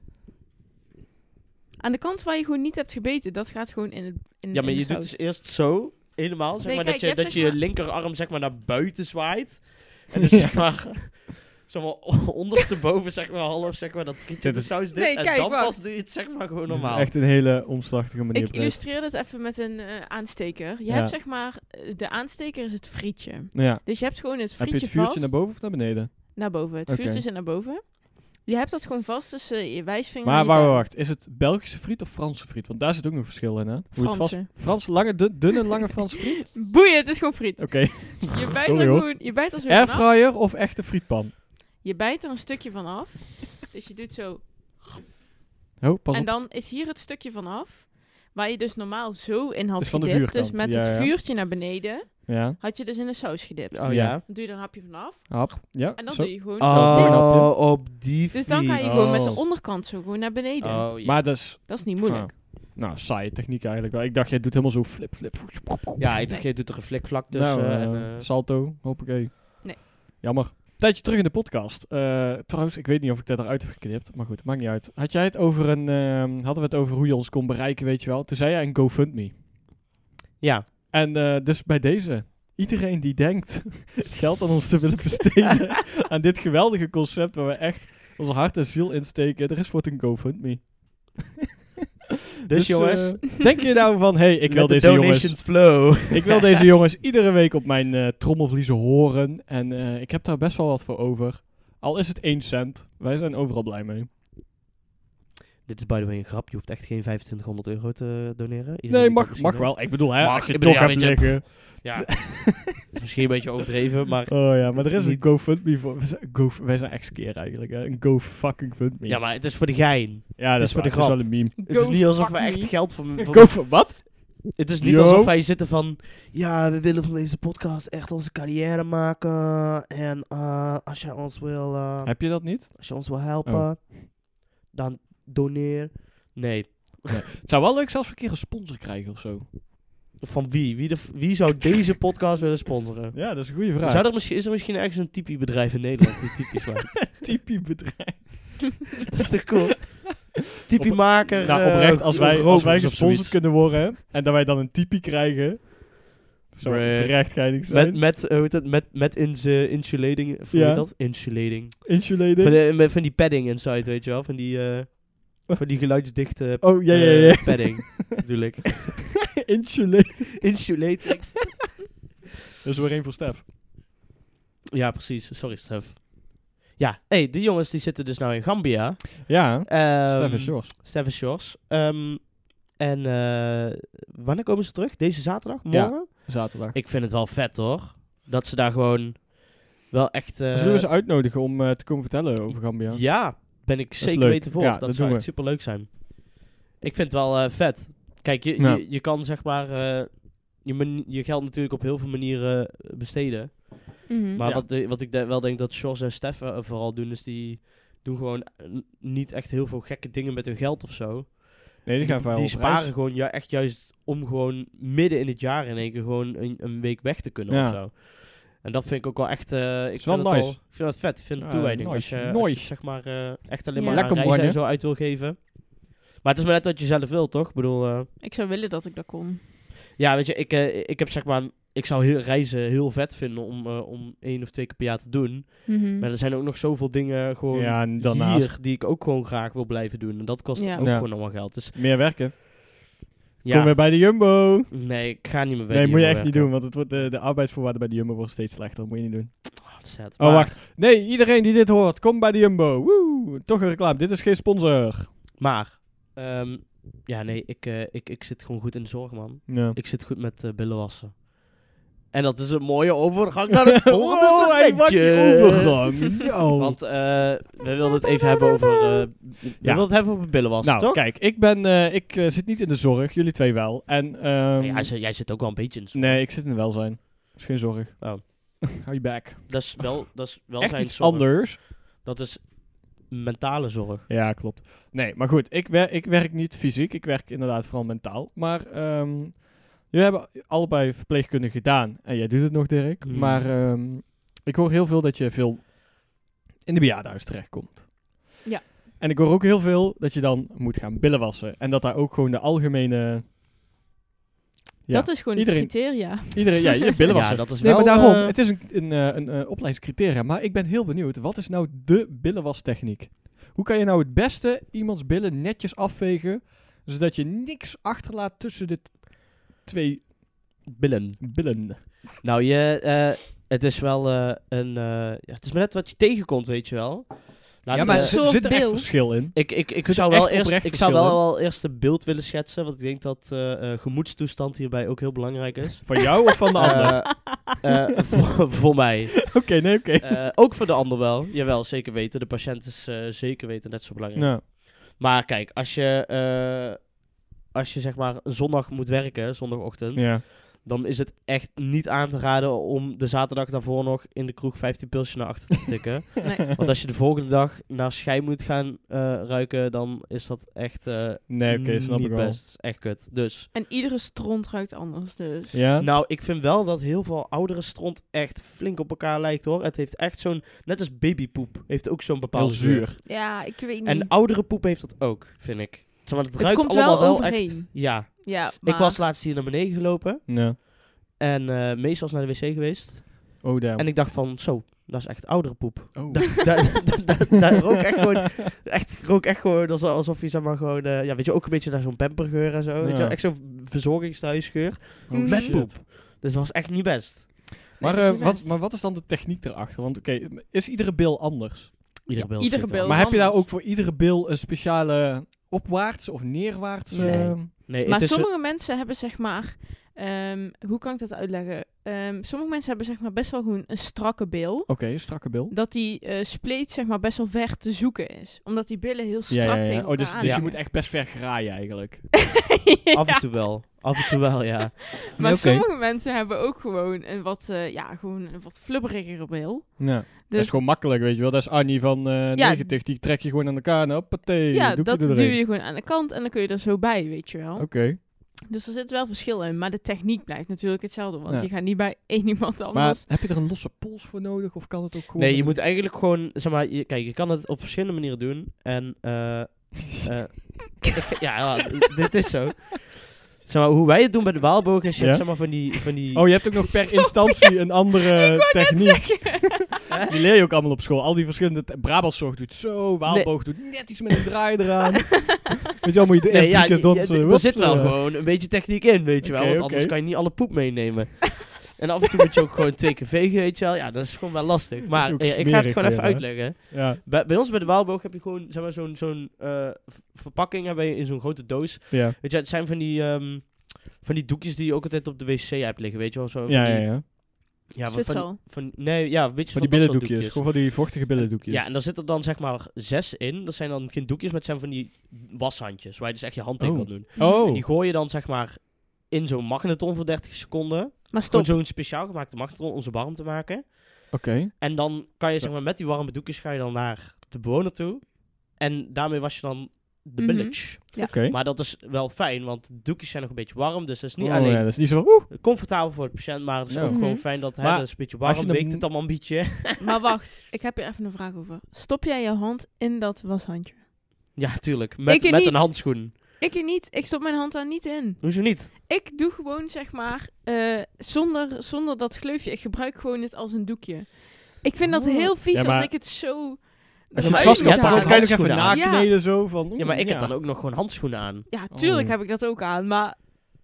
Aan de kant waar je gewoon niet hebt gebeten, dat gaat gewoon in het in, Ja, maar in de je doet saus. dus eerst zo, helemaal, zeg Nee, maar, kijk, dat je je, hebt dat je zeg je maar- linkerarm zeg maar naar buiten zwaait. [laughs] En dus zeg maar, [laughs] zeg maar ondersteboven zeg maar half zeg maar, dat frietje Dit de is- saus dit. Nee, en kijk, dan wacht. pas doe je het zeg maar gewoon Dit is normaal. echt een hele omslachtige manier. Ik Brett. illustreer dit even met een eh, aansteker. Je Ja. hebt zeg maar, eh, de aansteker is het frietje. Ja. Dus je hebt gewoon het Heb frietje je het vuurtje vast. naar boven of naar beneden? Naar boven. Het Oké. vuurtje is naar boven. Je hebt dat gewoon vast tussen je wijsvinger en Maar je wacht, duim. wacht, is het Belgische friet of Franse friet? Want daar zit ook nog verschil in, hè? Hoe je het vast- Franse. Franse, lange, dun- dunne, lange Franse friet? [laughs] Boeien, het is gewoon friet. Oké. Je bijt Sorry, er hoor. gewoon, je bijt er zo vanaf. Airfryer of echte frietpan? Je bijt er een stukje van af. Dus je doet zo. Oh, pas en op. dan is hier het stukje van af. Waar je dus normaal zo in had Dus van de gedipt. vuurkant, Dus met ja, ja. het vuurtje naar beneden Ja, had je dus in de saus gedipt. Oh ja. Ja. Dan doe je er een hapje vanaf. hap. Ja, En dan zo. doe je gewoon Oh, dit. dat- op die Dus dan ga je fiets. gewoon met de Oh. onderkant zo gewoon naar beneden. Oh, ja. Maar dus... Dat is niet moeilijk. Nou, saaie techniek eigenlijk wel. Ik dacht, jij doet helemaal zo flip, flip. Ja, ik dacht, je doet er een flikvlak Dus, tussen. nou, en, eh, eh, salto, hoppakee. Nee. Jammer. Tijdje terug in de podcast. Eh, trouwens, ik weet niet of ik dat eruit heb geknipt, maar goed, maakt niet uit. Had jij het over een, ehm, hadden we het over hoe je ons kon bereiken, weet je wel? Toen zei jij een GoFundMe. ja, En eh, dus bij deze, iedereen die denkt [laughs] geld aan ons te willen [laughs] besteden, aan dit geweldige concept waar we echt onze hart en ziel in steken, er is voor het een GoFundMe. [laughs] dus, eh, jongens, denk je nou van, hey, ik wil met deze de jongens... donations flow. [laughs] Ik [laughs] wil deze jongens iedere week op mijn eh, trommelvliezen horen. En eh, ik heb daar best wel wat voor over. Al is het 1 cent. Wij zijn overal blij mee. Dit is by the way een grap. Je hoeft echt geen 2500 euro te doneren. Iedereen Nee, die mag, dit mag misschien wel. Ik bedoel, hè, Mag, als ik je het bedoel, toch ja, hebt weet je, liggen. heeft. Ja. Dat is misschien een beetje overdreven, maar... [laughs] Oh ja, maar er is Niet- een GoFundMe voor. We zijn, go, wij zijn echt skeer eigenlijk. Hè. Een GoFuckingFundMe. Ja, maar het is voor de gein. ja, dat is is, voor de waar, dat is grap. wel een meme. Het is niet alsof we echt geld voor... Go for wat? Het is niet Yo. alsof wij zitten van... Ja, we willen van deze podcast echt onze carrière maken. En eh, als, jij ons wil, eh, Heb je dat niet? als je ons wil helpen, Oh. dan doneer. Nee. Het zou wel leuk zelfs een keer een sponsor krijgen of zo. Van wie? Wie, de, f- wie zou [laughs] deze podcast willen sponsoren? Ja, dat is een goede vraag. Zou er misschien, is er misschien ergens een typie bedrijf in Nederland die typisch maakt? typie bedrijf? [laughs] Dat is toch [laughs] cool? Typie maker. Nou, eh, oprecht, als wij, als wij rovers of gesponsord zoiets. kunnen worden hè, en dat wij dan een typie krijgen, dat zou Bruh. terecht geinig Met, zijn. met, eh, hoe heet dat? Met, met ins, eh, insulating. Of hoe Ja. heet dat? Insulating. Insulated. Van, die- met, van die padding inside, weet je wel? Van die, eh, van die geluidsdichte oh, ja, ja, eh, ja. padding, [laughs] bedoel ik. Eh. [laughs] Insulated. Insulating. Dat is weer één voor Stef. Ja, precies. Sorry, Stef. Ja, hey, die jongens die zitten dus nou in Gambia. Ja, Ehm, Stef is Sjors. Stef en Shores. Ehm, en eh, wanneer komen ze terug? Deze zaterdag? Ja. Morgen? Zaterdag. Ik vind het wel vet, hoor. Dat ze daar gewoon wel echt... eh, Zullen we ze uitnodigen om eh, te komen vertellen over Gambia? Ja, ben ik is zeker leuk. weten voor. Ja, dat, dat zou doen echt superleuk zijn. Ik vind het wel eh, vet. Kijk, je, Ja. je, je kan zeg maar eh, je, man- je geld natuurlijk op heel veel manieren eh, besteden. Mhm. Hm. Maar Ja. wat, de- wat ik de- wel denk dat Sjors en Stef eh, vooral doen, is die doen gewoon eh, n- niet echt heel veel gekke dingen met hun geld of zo. Nee, die gaan die, vrijwel op sparen reis. gewoon ju- echt juist om gewoon midden in het jaar in één keer gewoon een, een week weg te kunnen Ja. of zo. En dat vind ik ook wel echt. eh, ik, Is wel vind het nice. al- ik vind het vet. Ik vind het Ja, toewijding. nice, Als, je, als je, nice. zeg maar eh, echt alleen Ja. maar Lekker aan reizen en mannen. zo uit wil geven. Maar het is maar net wat je zelf wilt, toch? Ik bedoel, eh, Ik zou willen dat ik dat kon. ja, weet je, ik, eh, ik heb zeg maar. Ik zou heel, reizen heel vet vinden om, eh, om één of twee keer per jaar te doen. Mhm. Maar er zijn ook nog zoveel dingen gewoon Ja, en daarnaast hier die ik ook gewoon graag wil blijven doen. En dat kost Ja. ook Ja. gewoon allemaal geld. Dus meer werken. Kom ja, weer bij de Jumbo. nee, ik ga niet meer weg. nee, moet je echt niet doen, want het wordt, eh, de, de arbeidsvoorwaarden bij de Jumbo worden steeds slechter. Moet je niet doen. Oh, wacht. Nee, iedereen die dit hoort, kom bij de Jumbo. Woe, toch een reclame. Dit is geen sponsor. Maar, ehm, ja, nee, ik, eh, ik, ik zit gewoon goed in de zorg, man. Ja. Ik zit goed met eh, billen wassen. En dat is een mooie overgang naar [laughs] het volgende Oh, segmentje. [laughs] Nou, Want eh, we wilden het even hebben over, eh, we wilden het hebben over billen wassen, nou, toch? kijk, ik, ben, eh, ik eh, zit niet in de zorg. Jullie twee wel. En, ehm, Nee, jij, zit- jij zit ook wel een beetje in de zorg. nee, ik zit in de welzijn. is geen zorg. Oh. [laughs] Hou je back. Dat is wel, dat is wel Echt zijn iets zorg. anders. Dat is mentale zorg. Ja, klopt. Nee, maar goed, ik, wer ik werk niet fysiek. Ik werk inderdaad vooral mentaal. Maar ehm jullie hebben allebei verpleegkunde gedaan. En jij doet het nog, Dirk. Hmm. Maar ehm, ik hoor heel veel dat je veel in de bejaardenhuis terechtkomt. Ja. En ik hoor ook heel veel dat je dan moet gaan billen wassen. En dat daar ook gewoon de algemene... Ja. Dat is gewoon Iedereen- het criteria. Iedereen, ja, je billen wassen. Ja, dat is Nee, wel... maar daarom, eh, het is een, een, eh, een, eh, opleidingscriteria. Maar ik ben heel benieuwd, wat is nou de billenwastechniek? Hoe kan je nou het beste iemands billen netjes afvegen, zodat je niks achterlaat tussen de t- twee billen. billen? Nou, je, eh, het is wel eh, een... eh, ja, het is maar net wat je tegenkomt, weet je wel. Laat Ja, het, maar eh, zo- soort zit er echt bil. verschil in? ik, ik, ik, zit zou echt wel eerst, oprecht ik zou wel, verschil, wel eerst een beeld willen schetsen, want ik denk dat eh, eh, gemoedstoestand hierbij ook heel belangrijk [laughs] is. Van jou of [laughs] van de ander? Eh, eh, voor, voor mij. Oké, nee, oké. Eh, ook voor de ander wel. Jawel, zeker weten. De patiënt is eh, zeker weten net zo belangrijk. Nou, Maar kijk, als je, eh, als je zeg maar zondag moet werken, zondagochtend, ja. dan is het echt niet aan te raden om de zaterdag daarvoor nog in de kroeg 15 pilsjes naar achter te tikken. [laughs] Nee. Want als je de volgende dag naar schei moet gaan eh, ruiken, dan is dat echt eh, Nee, oké, snap niet ik wel. best. Echt kut. Dus, [laughs] En iedere stront ruikt anders, dus. Ja? nou, ik vind wel dat heel veel oudere stront echt flink op elkaar lijkt, hoor. Het heeft echt zo'n, net als babypoep, heeft ook zo'n bepaald Heel zuur. geur. Ja, ik weet niet. En oudere poep heeft dat ook, vind ik. Zeg maar, het, Het ruikt komt wel allemaal wel, echt. overeen. Ja, ja, maar... ik was laatst hier naar beneden gelopen Ja. en eh, meestal is naar de wc geweest. Oh, damn. En ik dacht van, zo, dat is echt oudere poep. [laughs] oh. Daar daar- daar- daar rook echt gewoon, echt, rook echt gewoon alsof, alsof je zeg maar gewoon, eh, ja weet je, ook een beetje naar zo'n pampergeur en zo. Weet je, Ja. wel, echt zo'n verzorgingsthuisgeur. [laughs] Oh, Mm. Met shit. poep. Dus dat was echt niet best. Maar, dat is eh, niet wat, best. maar wat is dan de techniek erachter? Want oké, is iedere bil anders? Iedere beeld. iedere zeker wel. beeld. maar heb je daar anders. ook voor iedere bil een speciale opwaarts of neerwaarts? Nee. eh, Nee, Maar het is, sommige mensen hebben zeg maar... ehm, hoe kan ik dat uitleggen? Ehm, sommige mensen hebben zeg maar best wel gewoon een strakke bil. Oké, een strakke bil. Dat die eh, spleet zeg maar best wel ver te zoeken is. Omdat die billen heel strak Ja, ja, ja. tegen Oh, elkaar dus, aan dus je Ja. moet echt best ver graaien eigenlijk. [laughs] Ja. af en toe wel. Af en toe wel, [laughs] ja. Maar Oké. sommige mensen hebben ook gewoon een wat, eh, ja, gewoon een wat flubberigere bil. Ja. Dus Dat is gewoon makkelijk, weet je wel. Dat is Annie van eh, Ja. 90, die trek je gewoon aan elkaar en hoppatee, ja, doekje dat er duw doorheen. je gewoon aan de kant en dan kun je er zo bij, weet je wel. Oké. Dus er zit wel verschil in, maar de techniek blijft natuurlijk hetzelfde. Want Ja. je gaat niet bij één iemand Maar anders. heb je er een losse pols voor nodig of kan het ook gewoon... Nee, je moet eigenlijk gewoon, zeg maar, je, kijk, je kan het op verschillende manieren doen. En, eh, [laughs] eh, ik- ja, ja, dit is zo. Zeg maar, hoe wij het doen bij de waalboog is, je hebt, Ja? zeg maar, van die, van die... Oh, je hebt ook nog per [laughs] Sorry. instantie een andere techniek. [laughs] Hè? Die leer je ook allemaal op school. Al die verschillende... te- Brabantszorg doet zo, Waalboog doet net iets met een draai [laughs] eraan. weet je wel, moet je de eerste ja, drie keer je- je- dansen. er Hup, zit wel eh. gewoon een beetje techniek in, weet je wel. Oké, Want oké. anders kan je niet alle poep meenemen. [laughs] en af en toe moet je ook gewoon twee keer vegen, weet je wel. Ja, dat is gewoon wel lastig. Maar ook eh, ik ga het smerig gewoon weer, even hè? uitleggen. Ja, Bij, bij ons bij de Waalboog heb je gewoon zeg maar, zo'n zo'n eh, v- verpakking hebben we in zo'n grote doos. ja. Weet je, het zijn van die, ehm, van die doekjes die je ook altijd op de wc hebt liggen, weet je wel. Zo, van Ja, ja, Die, ja. ja, van, van, Zwitserl. van- nee, ja, een beetje Van van die dat soort billendoekjes. Gewoon van die vochtige billendoekjes. Ja, en daar zitten dan zeg maar zes in. Dat zijn dan geen doekjes, maar het zijn van die washandjes. Waar je dus echt je hand in Oh. kan doen. En Oh, die gooi je dan zeg maar in zo'n magneton voor 30 seconden. Maar Gewoon stop. zo'n speciaal gemaakte magneton om ze warm te maken. oké. En dan kan je Zo. zeg maar met die warme doekjes ga je dan naar de bewoner toe. En daarmee was je dan de Mhm. village. Ja. Oké. Maar dat is wel fijn, want de doekjes zijn nog een beetje warm. Dus dat is niet Oh, alleen ja, dat is niet zo van, oeh, comfortabel voor het patiënt, maar het is Ja. ook gewoon Mhm. fijn dat hè, Maar dat is een beetje als je warm. hem- Weekt het allemaal een beetje. [laughs] Maar wacht, ik heb hier even een vraag over. Stop jij je hand in dat washandje? ja, tuurlijk. Met, Ik met een niet. handschoen. Ik niet. Ik stop mijn hand daar niet in. Hoezo niet? Ik doe gewoon zeg maar eh, zonder, zonder dat gleufje. Ik gebruik gewoon het als een doekje. Ik vind dat Oh. heel vies Ja, maar- als ik het zo. Ja, Als maar je het ik- vast kan je hebt pakken, daar kan je nog even handschoenen aan. nakneden zo van... Ja, maar ik heb dan dan ook nog gewoon handschoenen aan. Ja, tuurlijk Oh. heb ik dat ook aan, maar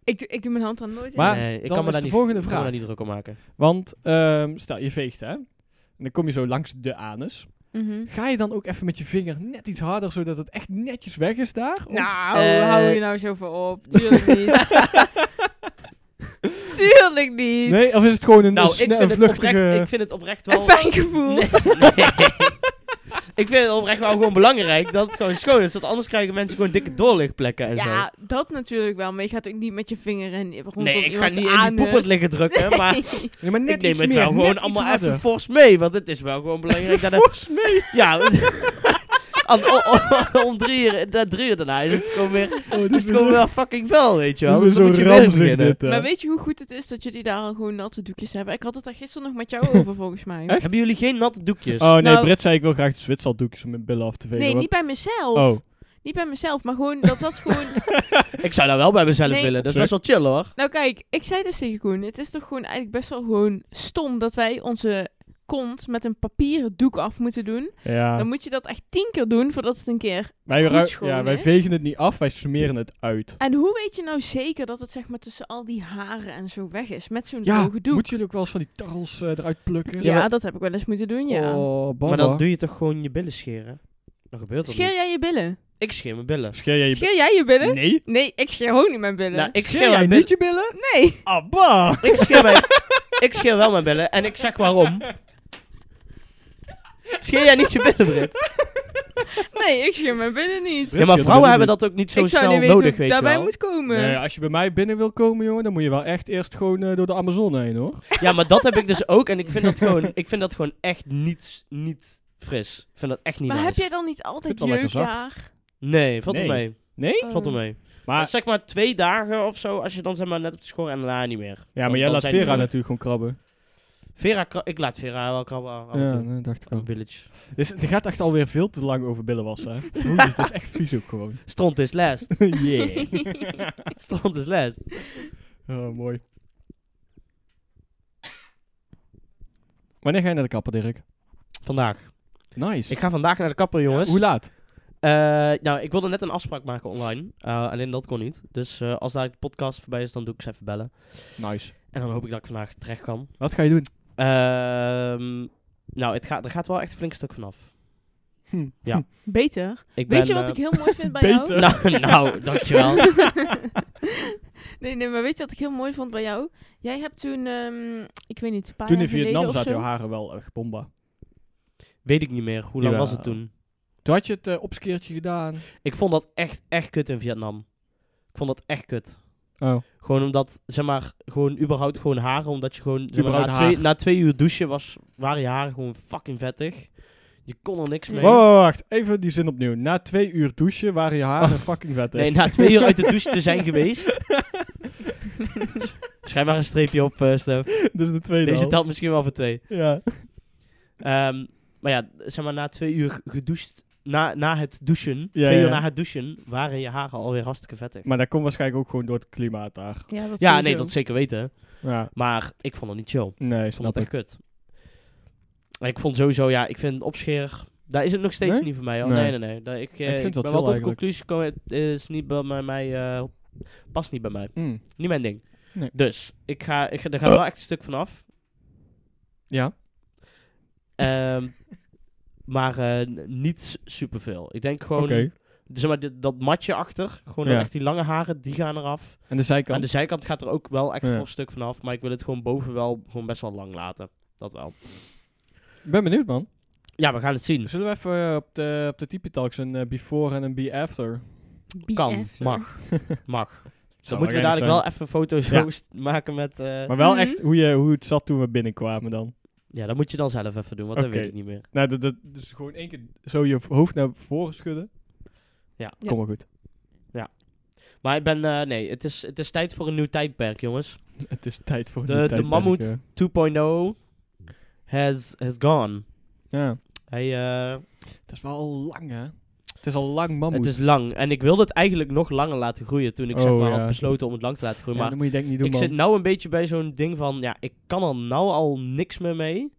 ik, doe- ik doe mijn hand daar nooit Maar- in. nee, ik dan kan me is daar de niet, volgende ik kan me vraag. daar niet druk om maken. Want ehm, stel, je veegt hè. En dan kom je zo langs de anus. Mhm. Ga je dan ook even met je vinger net iets harder, zodat het echt netjes weg is daar? Ah, Of- Nou, Eh, hou je nou zo voor op? Tuurlijk niet. [laughs] Tuurlijk niet. nee, of is het gewoon een, Nou, een, ik sne- vind, een het vluchtige... oprecht, ik vind het oprecht Een wel... fijn gevoel. Nee. ik vind het oprecht wel gewoon belangrijk dat het gewoon schoon is. Want anders krijgen mensen gewoon dikke doorlichtplekken en zo. Ja, dat natuurlijk wel. Maar je gaat ook niet met je vinger en rondom Nee, ik ga iemands niet in die anus. poepert [laughs] liggen drukken, maar Nee, maar [laughs] net ik neem iets het meer, wel net gewoon iets allemaal harder. even fors mee. Want het is wel gewoon belangrijk dat het... Fors mee! [laughs] Ja, aan- o- o- [laughs] om drie uur, da- drie uur daarna is het gewoon weer, [laughs] Oh, dit is het gewoon weer- wel fucking wel, weet je wel. dit is Dus dan moet weer zo je weer ranzig beginnen. dit, eh. hè. Maar weet je hoe goed het is dat jullie daar al gewoon natte doekjes hebben? Ik had het daar gisteren nog [laughs] met jou over, volgens mij. Echt? Hebben jullie geen natte doekjes? Oh nee, Nou- Britt zei ik wil graag de Zwitserdoekjes om mijn billen af te vegen. Nee, want- niet bij mezelf. Oh, Niet bij mezelf, maar gewoon dat dat [laughs] gewoon... Ik zou dat wel bij mezelf Nee. willen. Dat is best wel chill, hoor. nou kijk, ik zei dus tegen Koen, het is toch gewoon eigenlijk best wel gewoon stom dat wij onze kont met een papieren doek af moeten doen. [laughs] ja. Dan moet je dat echt tien keer doen voordat het een keer... Wij, goed ru- schoon ja, wij is. vegen het niet af, wij smeren het uit. En hoe weet je nou zeker dat het zeg maar tussen al die haren en zo weg is? Met zo'n Ja, droge doek. moeten jullie ook wel eens van die tarrels eh, eruit plukken? Ja, Ja, maar- dat heb ik wel eens moeten doen, ja. Oh, Maar baba. dan doe je toch gewoon je billen scheren? Dan gebeurt dat Scheer niet. jij je billen? Ik scheer mijn billen. Scheer jij je Scheer jij je billen? Nee. Nee, ik scheer gewoon niet mijn billen. Nou, ik scheer, Scheer jij mijn billen. niet je billen? nee. [laughs] Abba! Ik scheer, mijn, ik scheer wel mijn billen en ik zeg waarom. Scheer jij niet je billen, Britt? nee, ik scheer mijn binnen niet. Ja, maar je, vrouwen dat hebben bedoel dat ook niet zo ik zou snel niet weten nodig, hoe weet ik je daarbij wel. moet komen. Nee, als je bij mij binnen wil komen, jongen, dan moet je wel echt eerst gewoon eh, door de Amazone heen, hoor. Ja, maar dat heb ik dus ook. En ik vind dat gewoon, ik vind dat gewoon echt niet, niet fris. Ik vind dat echt niet maar heb nice. jij dan niet altijd Ik vind het wel jeuk lekker daar? Nee, Ah. valt Nee. er mee. Nee? Valt Oh. er mee. Maar, zeg maar twee dagen of zo, als je dan zeg maar net op de school en daarna niet meer. ja, Dan- maar jij dan laat zijn Vera die er. natuurlijk gewoon krabben. Vera, kra- ik laat Vera wel krabben af en Ja, toe. nee, dacht ik Een ook. Village. Dus het gaat echt alweer veel te lang over billen wassen, hè. [laughs] Oeh, dit dus is echt vies ook gewoon. Stront is [laughs] last. yeah. [laughs] Stront is last. Oh, mooi. Wanneer ga je naar de kapper, Dirk? Vandaag. Nice. Ik ga vandaag naar de kapper, jongens. Hoe laat? Eh, nou, ik wilde net een afspraak maken online. Eh, alleen dat kon niet. Dus eh, als daar de podcast voorbij is, dan doe ik ze even bellen. Nice. En dan hoop ik dat ik vandaag terecht kan. Wat ga je doen? Ehm, nou, het gaat, er gaat wel echt een flink stuk vanaf. Hm. Ja. Oh. Beter. Ik Weet je ben, wat eh, ik [laughs] heel mooi vind bij jou? Beter. Nou, nou, [laughs] dankjewel. nee, nee, maar weet je wat ik heel mooi vond bij jou? Jij hebt toen, ehm, ik weet niet, een paar Toen in jaar geleden Vietnam of zaten zo- jouw haren wel echt bomba. Weet ik niet meer. Hoe lang was het Jawel. toen? Toen had je het eh, opskeertje gedaan. Ik vond dat echt, echt kut in Vietnam. Ik vond dat echt kut. Oh. Gewoon omdat, zeg maar, gewoon überhaupt gewoon haren. Omdat je gewoon, zeg maar, na, Überhaupt haar. twee, na twee uur douchen was, waren je haren gewoon fucking vettig. Je kon er niks mee. Nee. Wacht, even die zin opnieuw. Na twee uur douchen waren je haren fucking vettig. [laughs] Nee, na twee uur uit de douche te zijn geweest. Schrijf maar een streepje op, eh, Stef. Dit is Dus de tweede Deze al. telt misschien wel voor twee. Ja. Ehm, maar ja, zeg maar, na twee uur gedoucht, na, na het douchen, Ja, twee uur ja. na het douchen, waren je haren alweer hartstikke vettig. Maar dat komt waarschijnlijk ook gewoon door het klimaat daar. Ja, dat ja, nee, sowieso. dat zeker weten. Ja. Maar ik vond het niet chill. Nee, Ik vond snap het echt ik. kut. En ik vond sowieso, ja, ik vind opscheer, daar is het nog steeds Nee? niet voor mij. Hoor. Nee. Nee, nee, nee. Daar- ik, eh, vind het ik wel ben chill wel tot de eigenlijk. conclusie gekomen, het is niet bij mij, mij, eh, past niet bij mij. Mm. Niet mijn ding. Nee. Dus, ik ga, ik, ga- er gaat wel echt een stuk vanaf. Ja. Ehm, [laughs] maar eh, n- niet s- superveel. Ik denk Oké. gewoon, Dus zeg maar, dit- dat matje achter, gewoon Ja. echt die lange haren, die gaan eraf. En de Aan zijkant. de zijkant gaat er ook wel echt Ja. voor een stuk vanaf, maar ik wil het gewoon boven wel gewoon best wel lang laten. Dat wel. Ik ben benieuwd, man. Ja, we gaan het zien. Zullen we even eh, op de, op de Tipi Talks een eh, before en een be [laughs] after? BF, Kan, sorry. mag, mag. Dan Zou moeten we wel dadelijk geinig wel even foto's Ja. post- maken met... eh, Maar wel Mhm. echt hoe, je, hoe het zat toen we binnenkwamen dan. ja, dat moet je dan zelf even doen, want dat Oké. weet ik niet meer. Nou, dat, dat, dus gewoon één keer zo je hoofd naar voren schudden. Ja. Kom maar goed. Maar ik ben... eh, nee, het is, het is tijd voor een nieuw tijdperk, jongens. 2.0 Het is tijd eh. voor een De- nieuw de tijdperk, mammoet. ja. oh has, has gone. Ja. Hij, eh, Het is wel al lang, hè? Het is al lang mammoet. het is lang. En ik wilde het eigenlijk nog langer laten groeien toen ik zeg Oh, maar, ja. had besloten om het lang te laten Ja, groeien. maar dat moet je denk ik niet doen, ik man. zit nou een beetje bij zo'n ding van, ja, ik kan er nou al niks meer mee.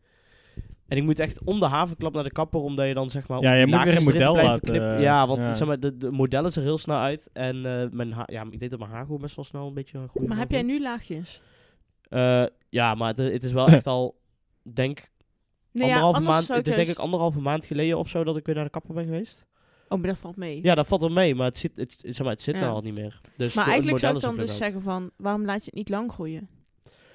En ik moet echt om de havenklap naar de kapper, omdat je dan zeg maar... Ja, op je die moet weer laagjes een erin te model blijven laten, knippen. eh, ja, want ja. Zeg maar, de, de model is er heel snel uit. En eh, mijn haar- ja, ik deed dat mijn haar gewoon best wel snel een beetje groeit. Maar heb jij nu laagjes? Eh, ja, maar het, het is wel [laughs] echt al, denk, Nee, ja, anderhalve anders maand... zou dus- Het is juist- denk ik anderhalve maand geleden of zo dat ik weer naar de kapper ben geweest. Oh, maar dat valt mee. Ja, dat valt wel mee, maar het zit, het, zeg maar, het zit Ja. nou al niet meer. Dus maar de- het eigenlijk zou ik model dan is er dus veel uit. zeggen van, waarom laat je het niet lang groeien?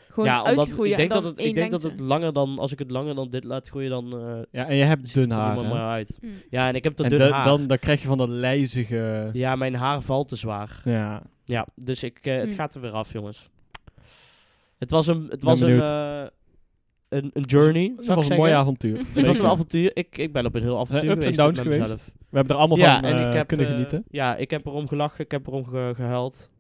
Gewoon ja, omdat uitgroeien ik denk, en dan dat het, één ik denk dat lengte. het langer dan, als ik het langer dan dit laat groeien, dan eh, Ja, en je hebt ziet het dun er haar, niet meer hè? uit. Mm. Ja, en ik heb dat En dun da- haar. dan, dan krijg je van dat lijzige... Ja, mijn haar valt te zwaar. Ja. Ja, dus ik, eh, het Mm. gaat er weer af, jongens. Het was een, het Ben was een, benieuwd. eh, een, een journey, zou Het ik was een zeggen. mooi avontuur. Het was Zeker. een avontuur. Ik, ik ben op een heel avontuur ups en geweest downs met geweest? mezelf. We hebben er allemaal ja, van en eh, ik heb, kunnen eh, genieten. ja, ik heb erom gelachen, ik heb erom ge- [laughs] gehuild.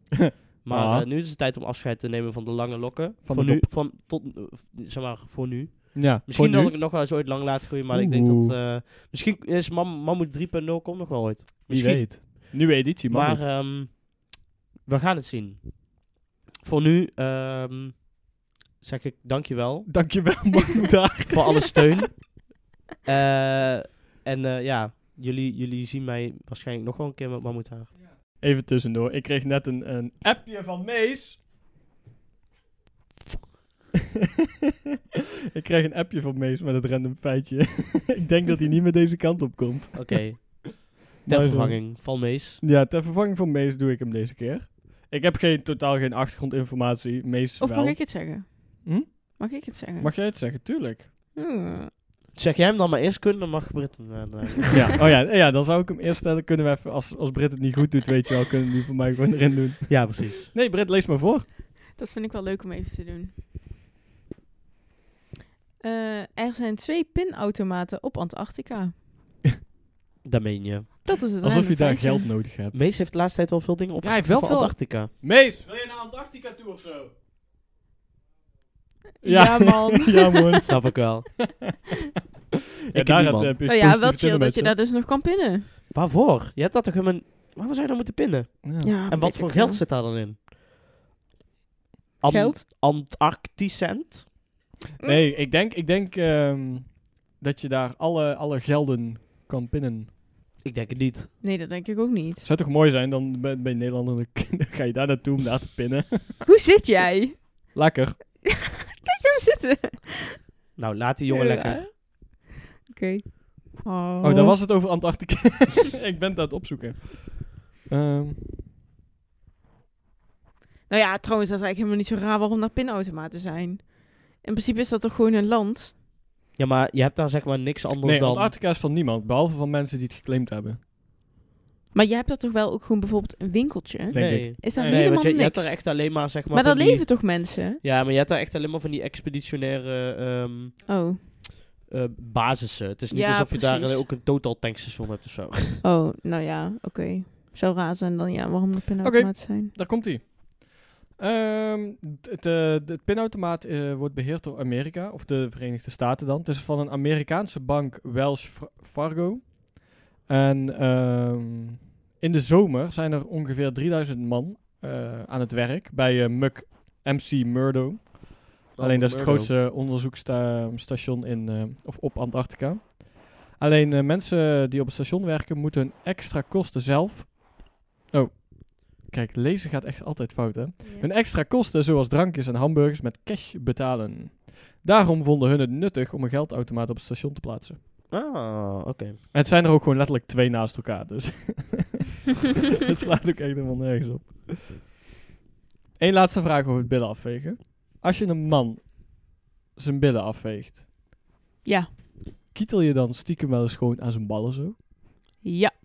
Maar Ah. eh, nu is het tijd om afscheid te nemen van de lange lokken. Van Van de nu, van, tot, eh, zeg maar, voor nu. Ja, Misschien voor dat nu. ik het nog wel eens ooit lang laat groeien, maar ik denk dat... Oeh. eh, misschien is Mam Mammoet 3.0 komt nog wel ooit. Wie Misschien. weet. Nieuwe editie, man. Maar ehm, we gaan het zien. Voor nu ehm, zeg ik [laughs] dankjewel eh, Dankjewel, man. daar. voor alle steun. Eh, en eh, ja, jullie, jullie zien mij waarschijnlijk nog wel een keer met Mammoet haar. Even tussendoor. Ik kreeg net een, een appje van Mees. [laughs] ik kreeg een appje van Mees met het random feitje. [laughs] ik denk dat hij niet meer deze kant op komt. Oké, ter Maar, eh, vervanging van Mees. Ja, ter vervanging van Mees doe ik hem deze keer. Ik heb geen, totaal geen achtergrondinformatie. Mees Of wel. mag ik het zeggen? Hm? Mag ik het [laughs] zeggen? Mag jij het zeggen? Tuurlijk. Hmm. Zeg jij hem dan maar eerst kunnen, dan mag Britt hem, eh, [laughs] daarna. [laughs] Ja, oh ja, ja, dan zou ik hem eerst stellen. Kunnen we even, als, als Britt het niet goed doet, weet je wel, kunnen we die voor mij gewoon erin doen. ja, precies. Nee, Britt, lees maar voor. Dat vind ik wel leuk om even te doen. Eh, er zijn twee pinautomaten op Antarctica. Dat meen je. Dat is het Alsof je random daar feitje. geld nodig hebt. Mees heeft de laatste tijd wel veel dingen op. Ja, hij heeft wel voor veel- Antarctica. Mees, wil je naar Antarctica toe of zo? [laughs] [laughs] Ja, man. [laughs] ja, [laughs] man. Snap ik [laughs] wel. [laughs] Ja, en daar niemand. heb je Nou ja, wel positieve chill dat je mensen. daar dus nog kan pinnen. Waarvoor? Je hebt dat toch helemaal... Waarom zou je dan moeten pinnen? Ja. en wat voor geld zit daar dan in? Geld? Antarcticent? Nee, ik denk, ik denk ehm, dat je daar alle, alle gelden kan pinnen. Ik denk het niet. Nee, dat denk ik ook niet. Zou toch mooi zijn, dan ben ben je Nederlander, dan [laughs] dan ga je daar naartoe om daar te pinnen. [laughs] Hoe zit jij? [laughs] Lekker. Hoe zitten? Nou, laat die jongen Ja. lekker. Eh, Oké. Oh. Oh, daar was het over Antarctica. [laughs] ik ben het aan het opzoeken. Ehm, Nou ja, trouwens, dat is eigenlijk helemaal niet zo raar waarom daar pinautomaten zijn. In principe is dat toch gewoon een land? Ja, maar je hebt daar zeg maar niks anders nee, dan... Antarctica is van niemand, behalve van mensen die het geclaimd hebben. Maar je hebt daar toch wel ook gewoon bijvoorbeeld een winkeltje? denk nee. Is daar Nee, Nee, want helemaal je, je niks? hebt daar echt alleen maar zeg maar... maar daar van die- leven toch mensen? Ja, maar je hebt daar echt alleen maar van die expeditionaire ehm, Oh. eh, basissen. Het is niet Ja, alsof je daar precies. eh, ook een total tankstation hebt of zo. Oh, nou ja, oké. Zou raar zijn dan, ja, waarom er pinautomaten zijn. Daar komt hij. het, eh, de- het pinautomaat eh, wordt beheerd door Amerika, of de Verenigde Staten dan. Het is van een Amerikaanse bank, Wells Fa- Fargo. En ehm, in de zomer zijn er ongeveer 3000 man eh, aan het werk bij eh, Muck MC Murdo. Alleen dat is het grootste onderzoeksstation in, eh, of op Antarctica. Alleen eh, mensen die op het station werken moeten hun extra kosten zelf. Oh, kijk, lezen gaat echt altijd fout, hè? Hun extra kosten, zoals drankjes en hamburgers, met cash betalen. Daarom vonden hun het nuttig om een geldautomaat op het station te plaatsen. Ah, oké. En het zijn er ook gewoon letterlijk twee naast elkaar, dus [laughs] het slaat ook echt helemaal nergens op. Eén laatste vraag over het billen afvegen. Als je een man zijn billen afveegt, Ja, kietel je dan stiekem wel eens gewoon aan zijn ballen zo? ja.